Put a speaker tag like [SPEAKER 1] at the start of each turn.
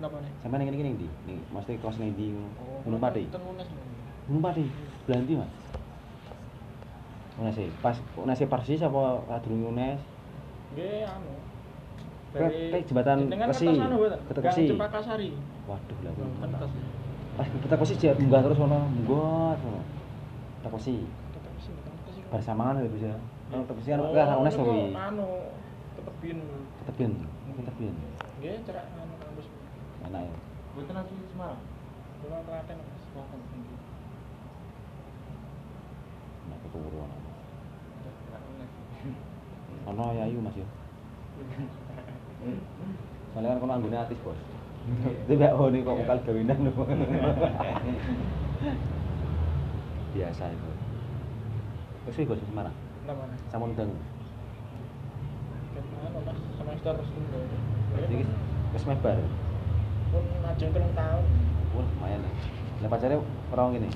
[SPEAKER 1] Napa nih?
[SPEAKER 2] Sampai ning kene ndi? Ning mesti kos ning ndi ngono. Gunung Pati.
[SPEAKER 1] Oh, Teng Unes.
[SPEAKER 2] Gunung Pati. Blanti, Mas. Unes e. Pas Unes e persis apa Radung Unes?
[SPEAKER 1] Nggih anu.
[SPEAKER 2] Ke- ke jembatan
[SPEAKER 1] Jenengan
[SPEAKER 2] Kesi.
[SPEAKER 1] kertas anu, Pak?
[SPEAKER 2] Kertas
[SPEAKER 1] Gang
[SPEAKER 2] Kesi.
[SPEAKER 1] Cempaka Sari.
[SPEAKER 2] Waduh lah.
[SPEAKER 1] Loh, kan kertas.
[SPEAKER 2] Pas kita kosi dia munggah terus ono, munggah terus ono. Kita kosi
[SPEAKER 1] Kertas Kesi, kertas Kesi.
[SPEAKER 2] bersamaan kan bisa. Kalau kita kosi kan
[SPEAKER 1] Oh,
[SPEAKER 2] enggak Radung Unes
[SPEAKER 1] itu
[SPEAKER 2] kuwi.
[SPEAKER 1] Anu, ketepin.
[SPEAKER 2] Ketepin, ketepin.
[SPEAKER 1] Nggih, cerak anu kampus.
[SPEAKER 2] Enak ya.
[SPEAKER 3] Bukan asli Semarang.
[SPEAKER 1] Kula telaten Mas. Telaten.
[SPEAKER 2] Enak keturu ono.
[SPEAKER 1] Cerak Unes.
[SPEAKER 2] Ono ya ayu Mas ya. Soalnya kan kono anggone artis, Bos. Itu mbak oh ini kok bekal gawinan lho. Biasa itu. Wis iki Bos Semarang.
[SPEAKER 1] Napa nih?
[SPEAKER 2] Sampun deng.
[SPEAKER 1] Anu, Mas, semester setunggal.
[SPEAKER 2] Jadi wis mebar.
[SPEAKER 1] pun ajeng telung tahun.
[SPEAKER 2] Wah, lumayan. Lah pacare ora ngene.